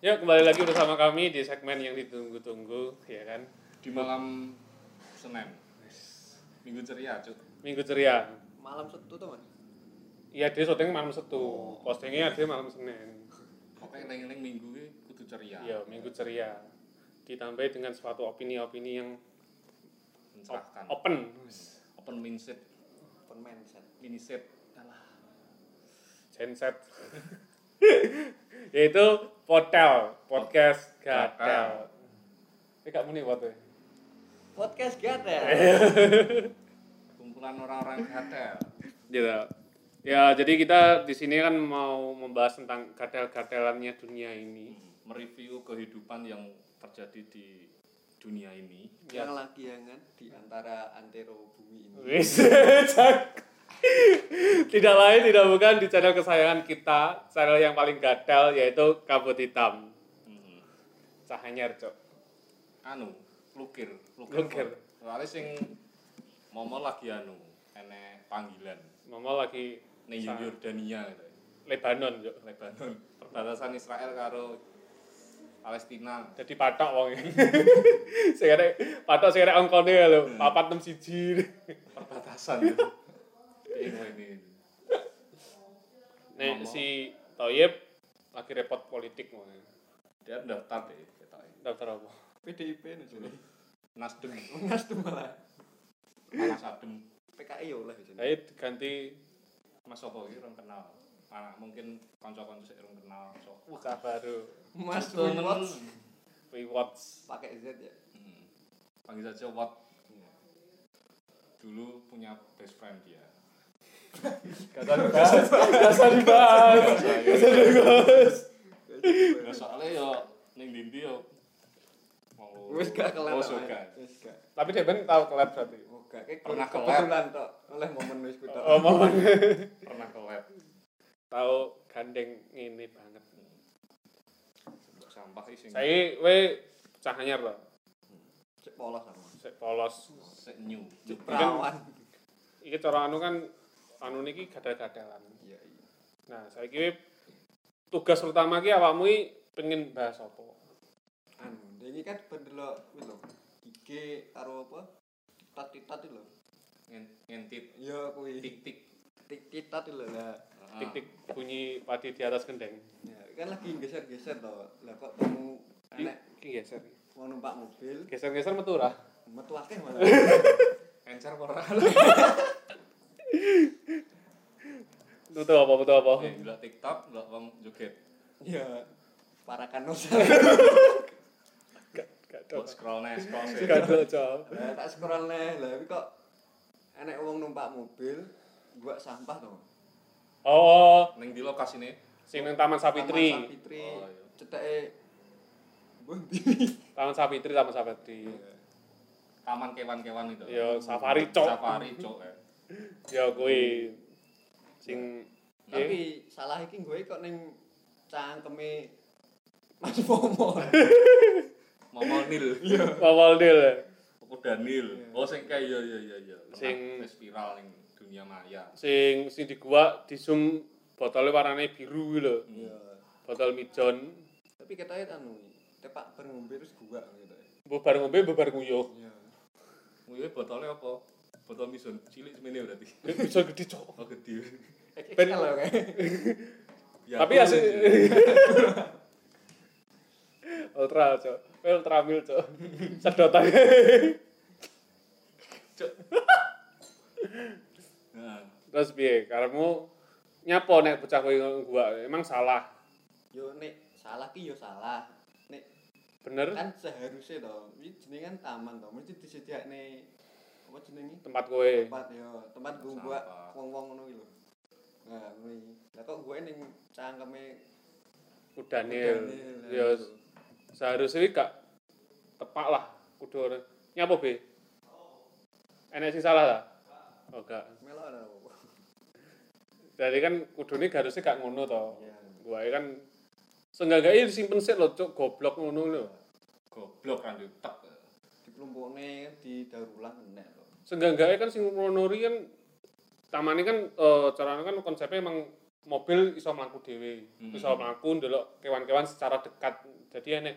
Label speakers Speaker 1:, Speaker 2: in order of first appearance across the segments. Speaker 1: Ya, kembali lagi bersama kami di segmen yang ditunggu-tunggu, ya kan?
Speaker 2: di malam Senin minggu ceria cut
Speaker 1: Minggu ceria.
Speaker 3: malam setu tuh kan
Speaker 1: Iya, dia syuting malam Setu. Postingnya dia malam Senin.
Speaker 2: pokoknya neng neng minggu ini kudu ceria
Speaker 1: Iya, Minggu ceria. Ditambah dengan suatu opini-opini yang
Speaker 2: mencerahkan
Speaker 1: open.
Speaker 2: open mindset
Speaker 3: open mindset
Speaker 2: mindset alah
Speaker 1: Genset. Yaitu Potel, podcast
Speaker 2: Gatel.
Speaker 1: gatel. Ini gak muni waktu. ya?
Speaker 3: podcast gak ada
Speaker 2: kumpulan orang-orang hotel
Speaker 1: Gitu. Ya, jadi kita di sini kan mau membahas tentang gatel-gatelannya dunia ini.
Speaker 2: mereview kehidupan yang terjadi di dunia ini
Speaker 1: Ya.
Speaker 3: yang lagi yang kan di antara antero bumi ini
Speaker 1: Wis, cak. tidak lain tidak bukan di channel kesayangan kita, channel yang paling gatel yaitu Kabut Hitam.
Speaker 2: Hmm.
Speaker 1: Cahanyar, Cok.
Speaker 2: anu lukir
Speaker 1: Lukir.
Speaker 2: soalnya sing momo lagi anu enek panggilan
Speaker 1: Mama lagi
Speaker 2: ning
Speaker 1: sa-
Speaker 2: Yordania gitu
Speaker 1: Lebanon, Cok.
Speaker 2: Lebanon perbatasan Israel karo Palestina
Speaker 1: Jadi patok wong. Sing ada patok sing ada angkone lho, 461.
Speaker 2: perbatasan gitu. Ini ini. gitu.
Speaker 1: Nek
Speaker 2: Mama.
Speaker 1: si Toyib lagi repot politik wong.
Speaker 2: Dia daftar deh ketoknya.
Speaker 1: Daftar apa?
Speaker 3: PDIP nih jadi
Speaker 2: Nasdem
Speaker 3: ngas tuh malah
Speaker 2: panas adem.
Speaker 3: PKI yo lah
Speaker 2: Eh,
Speaker 3: jadi
Speaker 1: Saya diganti
Speaker 2: Mas Sopo iki orang kenal. Mana mungkin kanca-kanca sik orang kenal. So, wah
Speaker 1: usaha baru.
Speaker 3: mas
Speaker 2: temen.
Speaker 3: Winwatch
Speaker 1: Rewards.
Speaker 3: pakai Z ya
Speaker 2: Hmm. Panggil saja Wat. Dulu punya best friend dia.
Speaker 1: Kata dibahas, kata dibahas. Kata dibahas.
Speaker 2: Nah, soalnya yo ning dindi yo mau
Speaker 3: wis gak kelar
Speaker 2: Oh,
Speaker 3: lah,
Speaker 2: suka.
Speaker 3: Mas. wis gak
Speaker 1: Tapi Deben tahu collab berarti.
Speaker 3: oh gak kayak
Speaker 2: Pernah
Speaker 3: kurang
Speaker 2: collab.
Speaker 3: kebetulan tok oleh momen wis kutok
Speaker 1: Oh, mau
Speaker 2: Pernah ke lab
Speaker 1: tahu gandeng ini banget.
Speaker 2: sampah sih sing
Speaker 1: Saya we cah anyar loh.
Speaker 3: cek polos sama
Speaker 1: Sik polos.
Speaker 2: sik new.
Speaker 3: cek perawan
Speaker 1: Iki cara anu kan anu niki gadal-gadalan.
Speaker 3: iya iya
Speaker 1: Nah, saya kira tugas utama ki awakmu iki pengen bahas apa?
Speaker 3: anu ini kan pendelok wis lho IG karo apa tat-tat lho
Speaker 2: Ngen- ngentit
Speaker 3: iya kuwi
Speaker 2: tik-tik.
Speaker 3: tit-tat lho lah
Speaker 1: Tik-tik bunyi padi di atas gendeng.
Speaker 3: Ya, kan lagi geser-geser toh. Lah kok temu
Speaker 1: Ki
Speaker 3: enek
Speaker 1: ki geser.
Speaker 3: mau numpak mobil,
Speaker 1: Geser-geser metu ora?
Speaker 3: metu akeh malah.
Speaker 2: Encer ora.
Speaker 1: Metu apa metu apa?
Speaker 2: Ya, gila TikTok, gila wong joget.
Speaker 3: Ya, para kanosa.
Speaker 1: Gak gak
Speaker 2: Buat scroll nih, scroll sih.
Speaker 1: Gak do, Cok.
Speaker 3: Lah tak scroll neh, lah iki kok enek wong numpak mobil, gua sampah toh.
Speaker 1: Oh,
Speaker 2: Neng di lokasi nih.
Speaker 1: sing nang Taman
Speaker 3: Taman
Speaker 1: Sapitri.
Speaker 3: Sapitri.
Speaker 2: Oh, iya.
Speaker 3: Ceteke Mbah ndi?
Speaker 1: Taman Sapitri, Taman Sapitri.
Speaker 2: Taman kewan-kewan itu.
Speaker 1: Yo safari cok.
Speaker 2: Safari cok ya.
Speaker 1: Ya kuwi sing
Speaker 3: Tapi salah iki gue kok ning cangkeme Mas Momo.
Speaker 2: Momo Nil. Iya.
Speaker 1: awal deal
Speaker 2: Aku Danil. Oh sing kayak iya iya iya iya.
Speaker 1: Sing-
Speaker 2: Pernah spiral ning dunia maya.
Speaker 1: sing sing di gua di zoom botolnya warnanya biru kuwi lho.
Speaker 3: Iya.
Speaker 1: Botol mijon.
Speaker 3: Tapi ketake anu tepak bar ngombe terus gua gitu.
Speaker 1: Mbok bar ngombe mbok bar nguyuh.
Speaker 3: Iya.
Speaker 2: Mungkin Oh, botolnya apa? Botol mison cilik semene berarti.
Speaker 1: Eh, Mijon gede cok.
Speaker 2: Oh gede.
Speaker 3: Ben lho kayak.
Speaker 1: Tapi
Speaker 2: aku
Speaker 1: asli
Speaker 2: sih.
Speaker 1: ultra cok. Eh, Ultra mil cok. Sedotan.
Speaker 2: Cok. Nah,
Speaker 1: Terus piye? Karemu nyapa nek bocah kowe ngomong gua emang salah.
Speaker 3: Yo nek salah ki yo salah. Nek
Speaker 1: Bener
Speaker 3: kan seharusnya toh, ini jenengan taman toh, mesti disediakne apa jenenge?
Speaker 1: tempat kowe.
Speaker 3: Tempat yo, tempat gue buat
Speaker 2: Sampah.
Speaker 3: wong-wong ngono iki lho. Nah, ngono iki. Lah kok gue ning cangkeme
Speaker 1: Udanil.
Speaker 3: Udanil, lah,
Speaker 1: Ya
Speaker 3: gitu.
Speaker 1: seharusnya iki gak tepak lah kudu ora. Nyapa be? Enek sing salah ta? Oh gak.
Speaker 3: melok ada apa?
Speaker 1: Jadi kan kudune harusnya gak ngono to.
Speaker 3: Iya.
Speaker 1: Gua kan seenggak-enggaknya simpen sik lho cuk goblok ngono lho.
Speaker 2: goblok kan tek.
Speaker 3: Diplumpukne di daur ulang enek toh.
Speaker 1: Seenggak-enggaknya kan sing ngono ri kan tamane kan eh carane kan konsepnya emang mobil iso mlaku dhewe,
Speaker 2: Hmm.
Speaker 1: iso mlaku ndelok kewan-kewan secara dekat. Jadi enek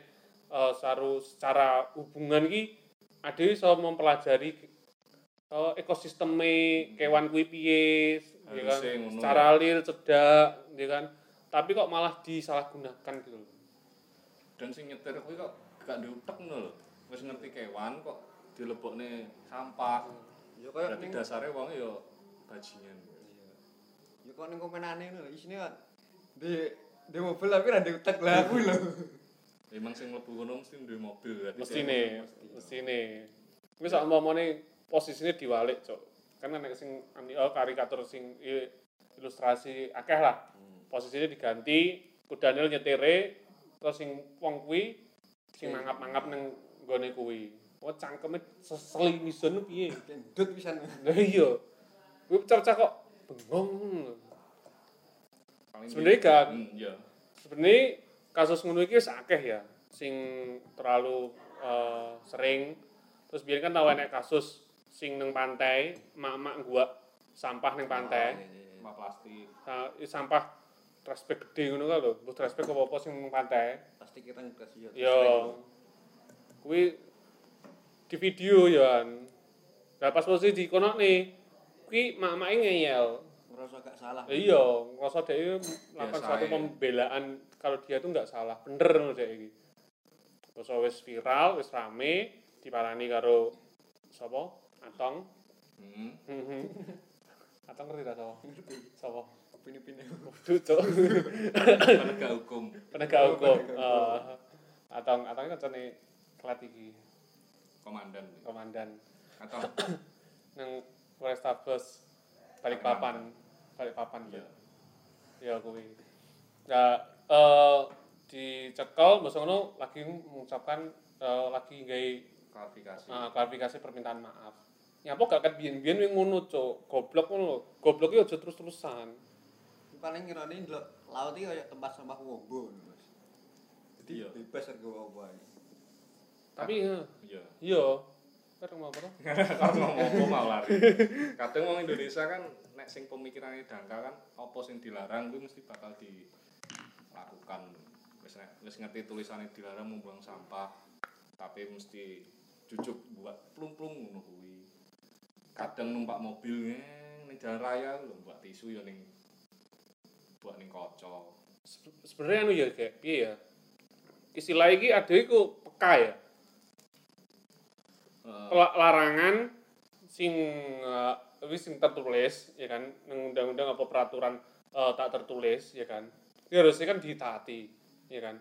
Speaker 1: eh, saru secara hubungan iki ade iso mempelajari eh, ekosisteme kewan kuwi piye, ya kan?
Speaker 2: Harusnya ngono
Speaker 1: Secara lir cedak, ya kan. Tapi kok malah disalahgunakan gitu loh.
Speaker 2: dan sing nyetir kuwi kok gak diutek ngono lho wis ngerti kewan kok dilebokne sampah
Speaker 3: Ya kayak
Speaker 2: berarti
Speaker 3: ning
Speaker 2: dasarnya wong ya bajingan
Speaker 3: ya kok ning komenane lho isine kan di di mobil tapi ra di utek lah kuwi lho.
Speaker 2: memang sing mlebu kono mesti duwe mobil berarti
Speaker 1: mestine mestine wis sak umpamane posisine diwalik cok kan nek sing ani- oh, karikatur sing i- ilustrasi akeh lah posisinya diganti kudanil nyetere terus sing wong kuwi sing mangap-mangap nang nggone kuwi oh cangkeme seseli misen piye
Speaker 3: Kendut pisan.
Speaker 1: lha iya kuwi cercah kok bengong
Speaker 2: Paling-
Speaker 1: Sebenarnya gak-
Speaker 2: Hmm, iya
Speaker 1: sebenarnya kasus ngono iki wis akeh ya sing terlalu eh, sering terus biar kan tau enek kasus sing neng pantai mak-mak gua sampah neng pantai
Speaker 2: sampah plastik
Speaker 1: Nah, i- sampah trash bag gede ngono kan lho mbuh trash bag apa-apa sing neng pantai
Speaker 3: Pasti kita ngegas ya.
Speaker 1: yo kuwi di video ya nah pas posisi di kono nih kuwi mak-mak e ngeyel
Speaker 3: Merasa gak salah.
Speaker 1: Ya Eh, iya, ngerasa dia melakukan
Speaker 2: Biasa
Speaker 1: suatu
Speaker 2: ae.
Speaker 1: pembelaan kalau dia tuh nggak salah, bener loh dia ini. Terus wis viral, wis rame, diparani karo sapa? Atong.
Speaker 2: hmm.
Speaker 1: Atong ngerti tak sapa? Sapa?
Speaker 3: Pini-pini.
Speaker 1: Waduh, Cok.
Speaker 2: penegak hukum
Speaker 1: Penegak hukum. Eh, Atong, Atong ini kancane kelat iki,
Speaker 2: komandan
Speaker 1: komandan
Speaker 2: atau
Speaker 1: nang Polrestabes Balikpapan. Balikpapan gitu.
Speaker 2: iya
Speaker 1: ya kuwi nah eh dicekel Mas Ono lagi mengucapkan eh, lagi gawe
Speaker 2: klarifikasi
Speaker 1: eh, klarifikasi permintaan maaf nyapa gak ket biyen-biyen wing ngono cok goblok ngono goblok iki aja terus-terusan
Speaker 3: Paling kirane ndelok laut iki kaya tempat sampah wombo. Mas. Jadi
Speaker 2: Iya.
Speaker 3: bebas harga apa ae.
Speaker 1: tapi ya
Speaker 2: iya
Speaker 1: iya terus mau apa
Speaker 2: karena ngomong mau lari kadang orang Indonesia kan nek sing pemikirannya dangkal kan apa sing dilarang itu mesti bakal dilakukan wis nek wis ngerti tulisannya dilarang membuang sampah tapi mesti cucuk buat plung-plung ngono kuwi kadang numpak mobil ngeng, ning jalan raya lho buat tisu ya ning buat ning kaca
Speaker 1: Se- sebenarnya anu ya kayak piye ya istilah iki ada iku peka ya
Speaker 2: Eh,
Speaker 1: La- larangan sing eh, wis sing tertulis ya kan nang undang-undang apa peraturan eh, tak tertulis ya kan ini harusnya kan ditaati ya kan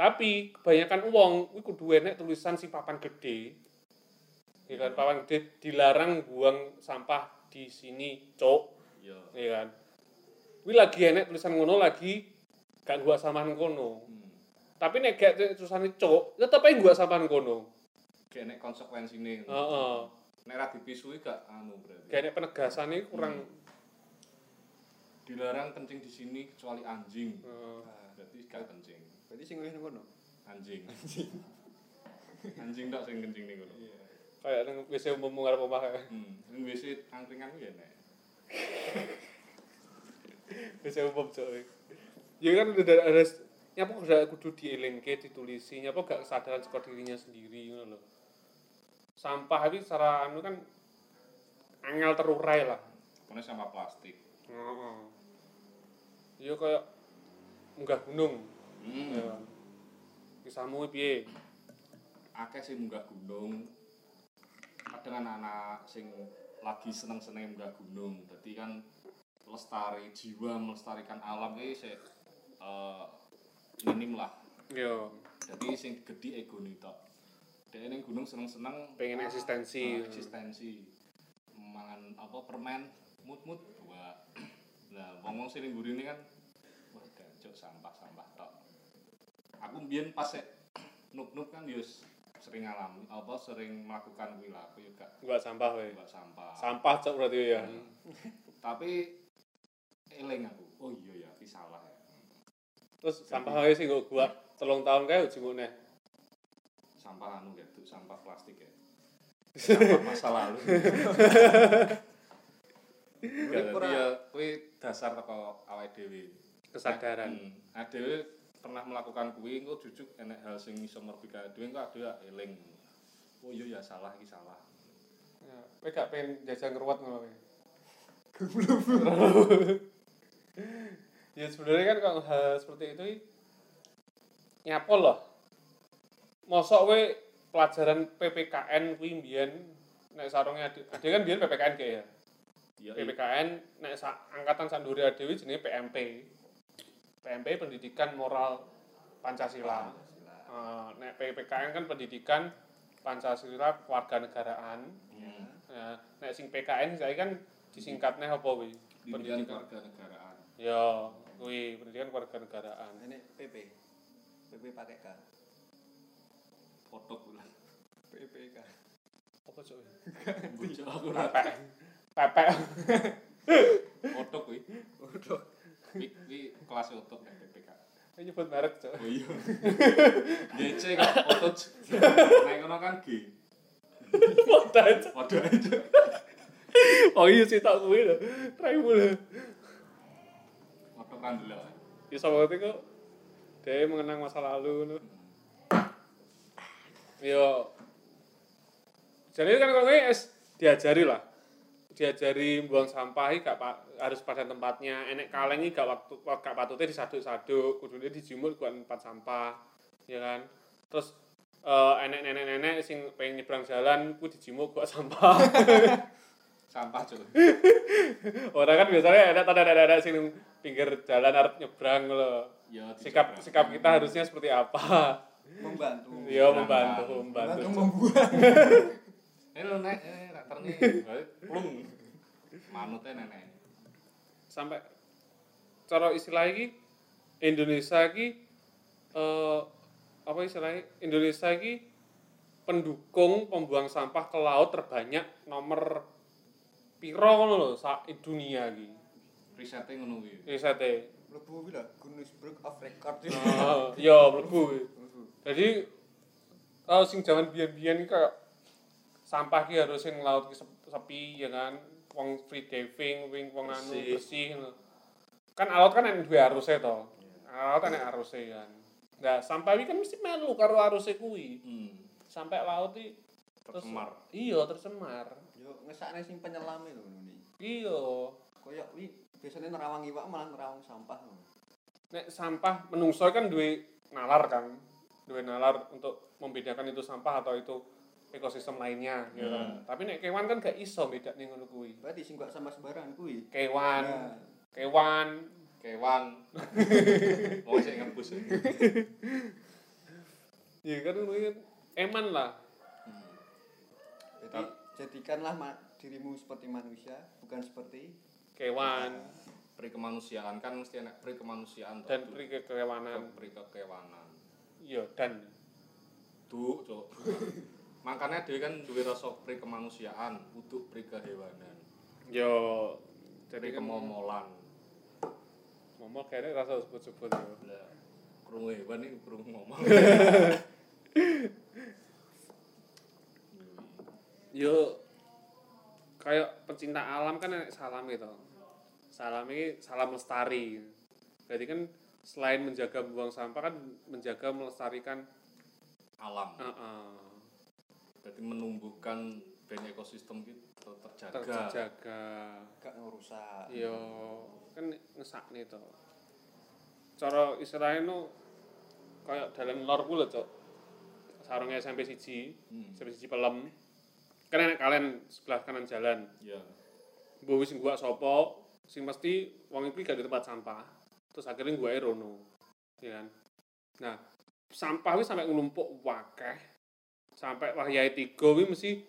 Speaker 1: tapi kebanyakan uang kuwi kudu enek tulisan sing papan gede ya kan papan gede dilarang buang sampah di sini cok
Speaker 2: ya
Speaker 1: ya kan kuwi lagi enek tulisan ngono lagi gak gua saman kono
Speaker 2: hmm.
Speaker 1: tapi nek gak tulisan cok tetep ae gua saman kono
Speaker 2: kayak nek konsekuensine
Speaker 1: heeh
Speaker 2: nek ra dipisui gak anu berarti
Speaker 1: Oh. kayak penegasan ini kurang
Speaker 2: dilarang kencing di sini kecuali anjing
Speaker 1: eh,
Speaker 3: Nah,
Speaker 2: berarti gak kencing
Speaker 3: Ah, Berarti sing nulis ngono.
Speaker 2: anjing anjing tak sering kencing nih kono
Speaker 3: Iya.
Speaker 1: kayak nang WC umum ngarep omah kayak.
Speaker 2: hmm ini biasa angkringan ku ya nek
Speaker 1: WC umum cok ya kan udah ada- ada nyapa udah kudu dielingke ditulisi nyapa gak kesadaran sekor dirinya sendiri ngono lho sampah tapi secara anu kan angel terurai lah
Speaker 2: kono sama plastik
Speaker 1: heeh iya kayak munggah gunung
Speaker 2: hmm
Speaker 1: ya kisahmu piye
Speaker 2: akeh sing munggah gunung kadang anak-anak sing lagi seneng-seneng munggah gunung jadi kan lestari jiwa melestarikan alam ini se eh, minim lah
Speaker 1: yo
Speaker 2: jadi sing gede ego nih tok dia ning gunung seneng-seneng
Speaker 1: pengen eksistensi
Speaker 2: Ah, eksistensi mangan apa permen mut mut buah nah wong wong sini buri ini kan wah dancuk sampah sampah tok aku mbien pas sek nup nup kan yus sering alami apa sering melakukan kuwi lah aku juga
Speaker 1: gak sampah we
Speaker 2: buat sampah
Speaker 1: sampah cok berarti ya
Speaker 2: Hmm. tapi eling aku oh iya ya ini salah ya
Speaker 1: terus sampah wae sih gua gua telung tahun kae ujung neh
Speaker 2: sampah anu gitu sampah plastik ya sampah masa lalu Ya, Jadi ya kuwi dasar teko awake dhewe.
Speaker 1: kesadaran
Speaker 2: Hmm. Adewe pernah melakukan kuwi engko jujuk enek hal sing iso merbika dhewe engko adewe ya eling. Oh iya ya salah iki salah.
Speaker 1: ya, kowe gak pengen jajang ngeruat ngono kowe? ya sebenarnya kan kalau hal seperti itu nyapo loh mosok kowe pelajaran PPKN kuwi mbiyen nek sarungnya ade, ade kan mbiyen PPKN kayak ya
Speaker 2: Iya. iya.
Speaker 1: PPKN nek sa, angkatan sanduri adewi jenenge PMP PMP pendidikan moral Pancasila Eh, nek PPKN kan pendidikan Pancasila kewarganegaraan
Speaker 2: Hmm.
Speaker 1: Nah, nek sing PKN saya kan disingkatnya apa kuwi?
Speaker 2: Pendidikan
Speaker 1: Pendidikan.
Speaker 2: kewarganegaraan.
Speaker 1: Ya, kuwi pendidikan kewarganegaraan.
Speaker 3: Ini PP. PP pakai K.
Speaker 2: Potok pula.
Speaker 3: PPK.
Speaker 1: Apa cok?
Speaker 2: Bocok aku ora.
Speaker 1: Pepek. Pepek.
Speaker 2: Potok kuwi.
Speaker 3: Waduh.
Speaker 2: Kuwi- Kuwi kelas otot nek PPK.
Speaker 1: Ini nyebut merek cok.
Speaker 2: Oh iya. GC kan otot. Nek ngono kan G.
Speaker 1: Padha aja.
Speaker 2: Waduh aja.
Speaker 1: Oh iya sih tak kuwi lho. Raimu lho.
Speaker 2: Potok kan delok.
Speaker 1: Ya sama ngerti kok dia mengenang masa lalu ngono. Yo. Jadi kan kalau kuwi es diajari lah. Diajari buang sampah iki gak pa- harus pada tempatnya. Enek kaleng iki gak waktu gak patute disaduk-saduk, kudune dijemur ke tempat sampah, ya kan. Terus eh, enek-nenek-nenek sing pengen nyebrang jalan ku dijemur ke sampah.
Speaker 2: Sampah cuk.
Speaker 1: Orang kan biasanya enek tanda-tanda sing pinggir jalan arep nyebrang lho.
Speaker 2: Ya
Speaker 1: sikap sikap kita harusnya seperti apa
Speaker 3: Membantu.
Speaker 1: yo membantu membantu
Speaker 3: Membantu membuat.
Speaker 2: Eh lu nek eh rak terne. Plung. Manute nenek.
Speaker 1: sampai cara istilah ini Indonesia ini eh, apa istilahnya Indonesia ini pendukung pembuang sampah ke laut terbanyak nomor piro ngono lho sak dunia iki
Speaker 2: Risete ngono kuwi.
Speaker 1: risetnya
Speaker 3: Lebu bila Guinness Book of Record.
Speaker 1: Eh, yo mlebu jadi eh, sing jaman biyen-biyen iki kayak sampah ki harus sing laut ki sep- sepi ya kan wong free diving wing wong anu
Speaker 2: Bersih.
Speaker 1: bersih ngono. kan laut kan yang duwe aruse to laut kan yang aruse kan nah sampah iki kan mesti melu karo aruse kuwi
Speaker 2: Hmm.
Speaker 1: sampai laut iki terus-
Speaker 2: Tercemar.
Speaker 1: iya tercemar
Speaker 3: Yo ngesakne sing penyelam e lho ngono iki.
Speaker 1: iya
Speaker 3: Koyok wi biasanya nerawang iwak malah nerawang sampah. lho.
Speaker 1: nek sampah menungso kan duwe nalar kan duwe nalar untuk membedakan itu sampah atau itu ekosistem lainnya ya kan.
Speaker 2: Hmm.
Speaker 1: tapi nek kewan kan gak iso beda nih ngono kuwi
Speaker 3: Berarti sing gak sama sembarangan kuwi.
Speaker 1: kewan
Speaker 3: Nah,
Speaker 1: kewan
Speaker 2: Kewan. Wong sik ngempus. ya.
Speaker 1: ya kan kuwi eman lah
Speaker 2: Hmm.
Speaker 3: jadi jadikanlah ma- dirimu seperti manusia, bukan seperti
Speaker 1: kewan
Speaker 2: Pri kemanusiaan kan mesti enak pri kemanusiaan toh.
Speaker 1: dan pri kekewanan
Speaker 2: pri kekewanan.
Speaker 1: iya dan
Speaker 2: Duh, cuk. Makanya dia kan duwe rasa pri kemanusiaan, kudu pri kehewanan,
Speaker 1: yo
Speaker 2: pri
Speaker 1: jadi kan momo
Speaker 2: kemomolan.
Speaker 1: momo kayaknya rasa sebut-sebut ya. yo
Speaker 2: Lah, krungu hewan iki krungu ngomong.
Speaker 1: yo kayak pecinta alam kan enek salam gitu salam ini salam lestari berarti kan selain menjaga buang sampah kan menjaga melestarikan
Speaker 2: Alam.
Speaker 1: eh, eh,
Speaker 2: Berarti menumbuhkan ben ekosistem kita terjaga.
Speaker 1: terjaga
Speaker 3: gak ngerusak.
Speaker 1: yo kan ngesak nih to cara istilahnya no kayak dalam lor pula cok sarungnya SMP siji
Speaker 2: Hmm.
Speaker 1: SMP siji pelem kan enak kalian sebelah kanan jalan
Speaker 2: Ya.
Speaker 1: mbok wis gua sapa sing mesti wong iki gak di tempat sampah terus akhirnya gua rono ya kan nah sampah wis sampai nglumpuk wakeh sampai wahyai tiga wis mesti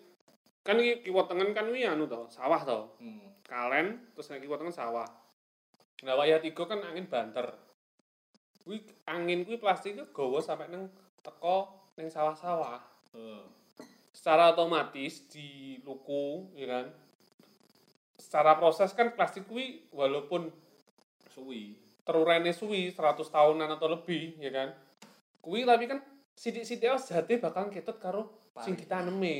Speaker 1: kan iki kiwa tengen kan wi anu to sawah to
Speaker 2: Hmm.
Speaker 1: kalen terus nek kiwa tengen sawah nah wahyai tiga kan angin banter kuwi angin kuwi plastiknya gawa sampai neng teko neng sawah-sawah
Speaker 2: Eh,
Speaker 1: secara otomatis di luku ya kan secara proses kan plastik kuwi walaupun
Speaker 2: suwi.
Speaker 1: terurene suwi 100 tahunan atau lebih ya kan kuwi tapi kan sidik-sidik ae jate bakal ketut karo sing
Speaker 3: Pari.
Speaker 1: ditanemi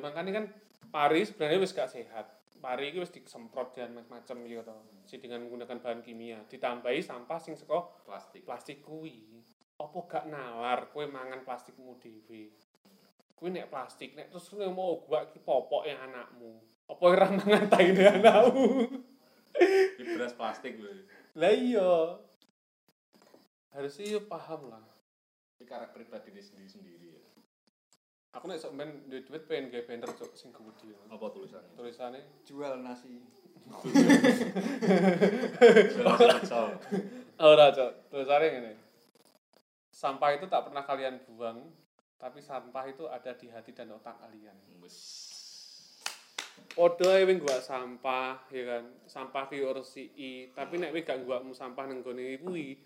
Speaker 1: ya, makanya kan pari sebenarnya wis gak sehat pari iki wis disemprot dan macam-macam gitu to. Si dengan menggunakan bahan kimia, ditambahi sampah sing saka
Speaker 2: plastik
Speaker 1: plastik kuwi. Opo gak nalar kowe mangan plastikmu dhewe. Kuwi nek plastik nek terus kowe mau gua ki popok yang anakmu. Apa ora mangan taine anakmu?
Speaker 2: di beras plastik gue
Speaker 1: Lah iya. Harusnya iya paham lah.
Speaker 2: ini karakter pribadi ini sendiri sendiri ya
Speaker 1: Aku nek sok ben duwe duit pengen gawe banner cuk sing gede.
Speaker 2: apa tulisannya
Speaker 1: Tulisane
Speaker 3: jual nasi
Speaker 2: Jalan Jaksel.
Speaker 1: Ora, Cok. Tulisannya gini. Sampah itu tak pernah kalian buang, tapi sampah itu ada di hati dan otak kalian.
Speaker 2: Wes.
Speaker 1: Podo ae wing gua sampah, ya kan. Sampah ki resiki, tapi nek wis gak gua sampah nang gone kuwi,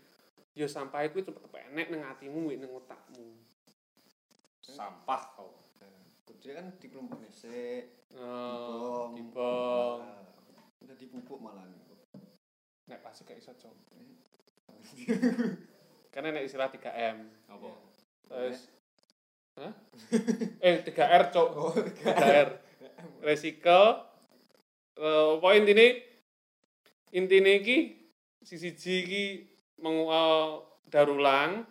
Speaker 1: ya sampah kuwi tetep enek nang atimu, wik nang otakmu.
Speaker 2: sampah kau
Speaker 3: Gede kan dikelompok nesek
Speaker 1: Oh,
Speaker 3: Dibong.
Speaker 1: dibong.
Speaker 3: Nah, udah dipupuk malah nih
Speaker 1: Nek pasti gak iso, Cok. Karena nek istilah 3M.
Speaker 2: apa
Speaker 1: Terus Hah? Eh, 3R, Cok.
Speaker 3: oh enggak
Speaker 1: 3R. Resikel. Uh, apa intine? Intine iki sisi iki meng, eh, daur ulang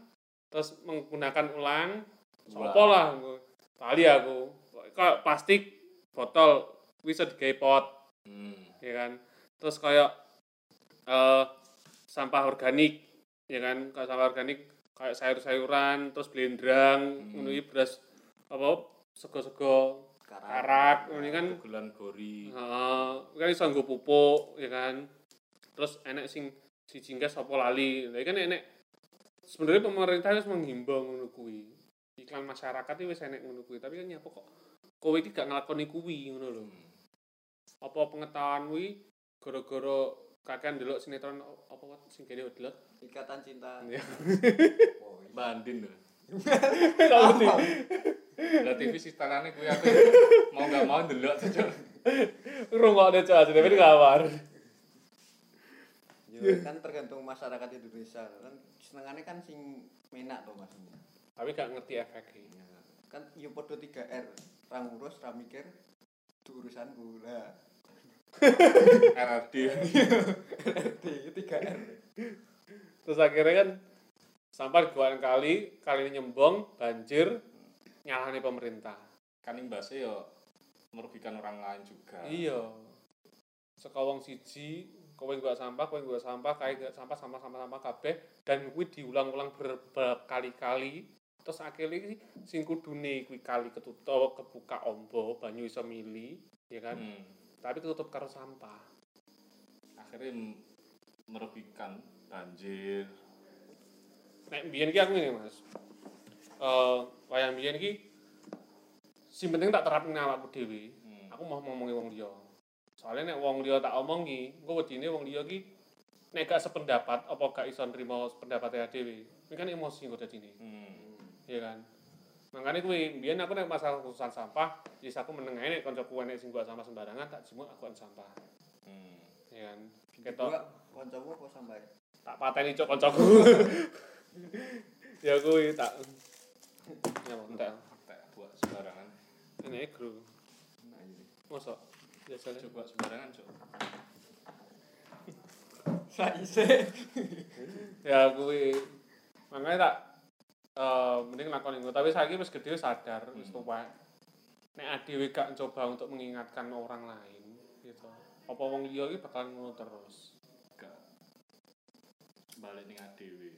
Speaker 1: terus menggunakan ulang.
Speaker 2: Ulang.
Speaker 1: Sopo lah aku. Tali aku. Kayak plastik botol bisa digawe pot,
Speaker 2: hmm.
Speaker 1: ya kan. Terus kayak eh sampah organik, ya kan? Kayak sampah organik kayak sayur-sayuran, terus blendrang,
Speaker 2: Hmm.
Speaker 1: ngono iki beras apa sego-sego karak ini kan
Speaker 2: Pukulan gori
Speaker 1: heeh kan iso nggo pupuk ya kan terus enek sing si jinggas apa lali lha kan enek sebenarnya pemerintah harus menghimbau ngono kuwi iklan masyarakat itu wis enek ngono kuwi tapi kan nyapa kok kowe iki gak nglakoni kuwi ngono lho
Speaker 2: Hmm.
Speaker 1: apa pengetahuan kuwi gara-gara kakek delok sinetron apa wat sing gede delok
Speaker 3: ikatan cinta
Speaker 1: ya
Speaker 3: Oh, iya.
Speaker 2: Mbak Andin loh.
Speaker 1: Hmm. Tahu sih.
Speaker 2: Lah TV sih tangannya gue aku mau gak mau delok tuh Cok.
Speaker 1: rungokne cah tapi kabar
Speaker 3: Ya, kan tergantung masyarakat Indonesia kan senengannya kan sing menak to mas
Speaker 1: tapi gak ngerti efeknya
Speaker 3: kan yo podo 3R ra ngurus ra mikir du urusanku lah
Speaker 2: RRD.
Speaker 3: di 3R
Speaker 1: terus akhirnya kan sampah dikeluarin kali kali ini nyembong banjir nyalahnya pemerintah
Speaker 2: Kan imbasnya yo merugikan orang lain juga.
Speaker 1: iya sekawang siji kowe gak sampah kowe gak sampah kae gak sampah sampah sampah sampah kabeh dan kuwi diulang-ulang berkali-kali terus akhirnya iki sing kudune kuwi kali ketutup kebuka ombo banyu iso mili ya kan
Speaker 2: Hmm.
Speaker 1: tapi ketutup karo sampah
Speaker 2: Akhirnya m- merugikan banjir.
Speaker 1: nek biyen ki aku ngene Mas. Eh wayang biyen ki sing penting tak terapin nang awakku dhewe.
Speaker 2: Hmm.
Speaker 1: Aku mau ngomongi wong liya. Soalnya nek wong liya tak omongi, engko wedine wong liya ki nek gak sependapat apa gak iso nrimo pendapatnya dhewe. Ini kan emosi kok dadine,
Speaker 2: Hmm.
Speaker 1: ya kan? Makanya kuwi biyen aku nek masalah urusan sampah, wis aku meneng ae nek kancaku nek sing buat sampah sembarangan tak jemuk akuan sampah,
Speaker 2: Hmm.
Speaker 1: ya kan? Ketok
Speaker 3: ketok kancamu apa sampai
Speaker 1: tak pateni cok kancaku. ya kuwi tak ya entek.
Speaker 2: Tak buat sembarangan.
Speaker 1: Ini gru. Ya,
Speaker 3: nah ini
Speaker 1: Masa biasanya
Speaker 2: Coba sembarangan Cok.
Speaker 3: saise
Speaker 1: ya kuwi makanya tak eh mending lakoni ngono tapi saiki wis gede wis sadar wis
Speaker 2: Hmm.
Speaker 1: tuwa. Nek adewe gak coba untuk mengingatkan orang lain gitu. Apa wong liya iki bakal ngono terus.
Speaker 2: Gak balik nih adewe.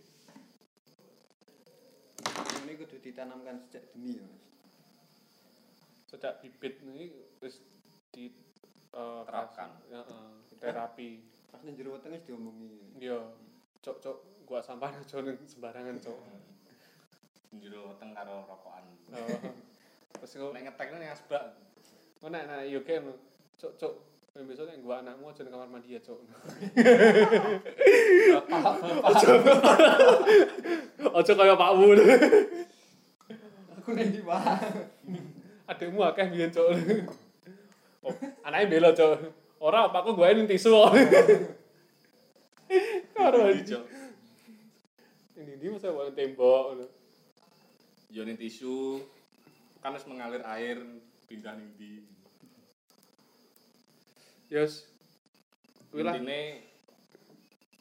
Speaker 3: ini kudu ditanamkan sejak dini ya mas
Speaker 1: Sejak bibit ini wis di eh,
Speaker 2: Terapkan.
Speaker 1: kasih- Ya, eh, terapi.
Speaker 3: pas ning jero weteng wis diomongi
Speaker 1: Yo, cok cok Iya. gua sampah aja nih sembarangan cok.
Speaker 2: Hmm. Jero weteng karo rokokan.
Speaker 1: Oh. Terus gua
Speaker 2: Nek ngetek nih asbak.
Speaker 1: Kau Oh, nak nak yo kan cok cok yang besok yang gua anakmu aja di kamar mandi ya cok. Ojo kaya Pak Wul.
Speaker 3: aku ning di bawah
Speaker 1: Adikmu akeh biyen cok. Oh, anaknya bela cok. Ora opakku gua ini tisu. kok. Karo
Speaker 2: Di
Speaker 1: ini
Speaker 2: Cok.
Speaker 1: ini masa warna tembok. ngono.
Speaker 2: Yoni tisu kan harus mengalir air pindah nih di
Speaker 1: Yes. Kuwi lah.
Speaker 2: Intine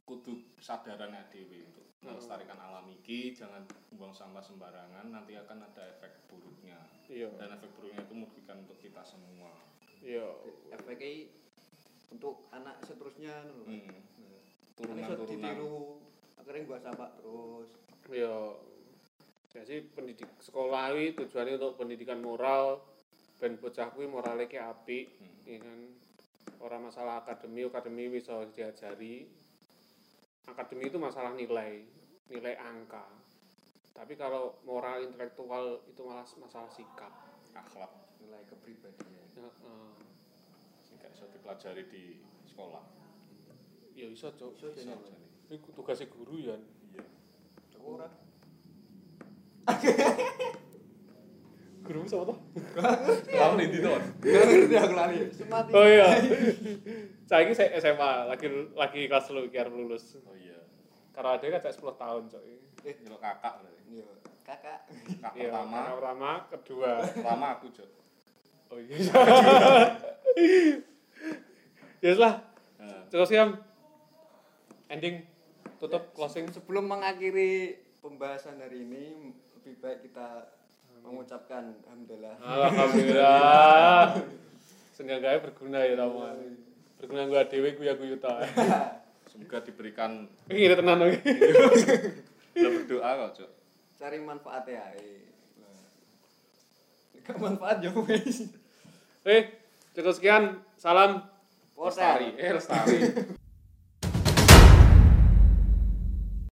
Speaker 2: kudu sadarannya dhewe untuk melestarikan alam iki, jangan buang sampah sembarangan, nanti akan ada efek buruknya.
Speaker 1: Iya.
Speaker 2: Dan efek buruknya itu merugikan untuk kita semua.
Speaker 1: Iya.
Speaker 3: FPKI untuk anak seterusnya ngono lho.
Speaker 2: Hmm.
Speaker 3: Nah, kan iso
Speaker 2: Turunan-turunan.
Speaker 3: ditiru. Akhirnya gua sampah terus.
Speaker 1: Iya. Jadi pendidik sekolah kuwi tujuannya untuk pendidikan moral ben bocah kuwi morale ki apik,
Speaker 2: Hmm.
Speaker 1: ya kan. Ora masalah akademi, akademi bisa diajari. Akademi itu masalah nilai, nilai angka. Tapi kalau moral intelektual itu malah masalah sikap. Ya, eh,
Speaker 2: Akhlak
Speaker 3: Nilai kepribadian.
Speaker 1: Heeh.
Speaker 2: nggak bisa dipelajari di sekolah.
Speaker 1: Ya iso, Cok.
Speaker 3: Iso
Speaker 2: Bisa
Speaker 3: jadi.
Speaker 2: jadi.
Speaker 1: Ini tugasnya guru ya.
Speaker 2: Iya.
Speaker 3: Cukup ora?
Speaker 1: Guru sama toh?
Speaker 3: Iya.
Speaker 2: Kamu nih di Don.
Speaker 3: Ngerti aku lali. Semati.
Speaker 1: Oh iya. Saya ini saya SMA lagi lagi kelas lu biar lulus.
Speaker 2: Oh iya.
Speaker 1: Karena ada kan saya 10 tahun coy.
Speaker 2: Nyelok kakak berarti.
Speaker 3: Iya. Kakak.
Speaker 2: Kak
Speaker 1: Iya,
Speaker 2: pertama,
Speaker 1: kakak pertama, kedua.
Speaker 2: pertama aku, Jok.
Speaker 1: Oh iya. ya lah.
Speaker 2: Nah,
Speaker 1: Terus ya ending tutup closing.
Speaker 3: Sebelum mengakhiri pembahasan hari ini lebih baik kita mengucapkan alhamdulillah.
Speaker 1: Ah. Alhamdulillah. Seenggaknya berguna ya teman. Berguna gue dewe gue ya gue yuta.
Speaker 2: semoga diberikan
Speaker 1: Ini tenan lagi.
Speaker 2: kita berdoa kok, Jok.
Speaker 3: Cari manfaat ya. Gak manfaat yo wis.
Speaker 1: Eh, cukup sekian. Salam
Speaker 3: Potel.
Speaker 2: Lestari, eh lestari.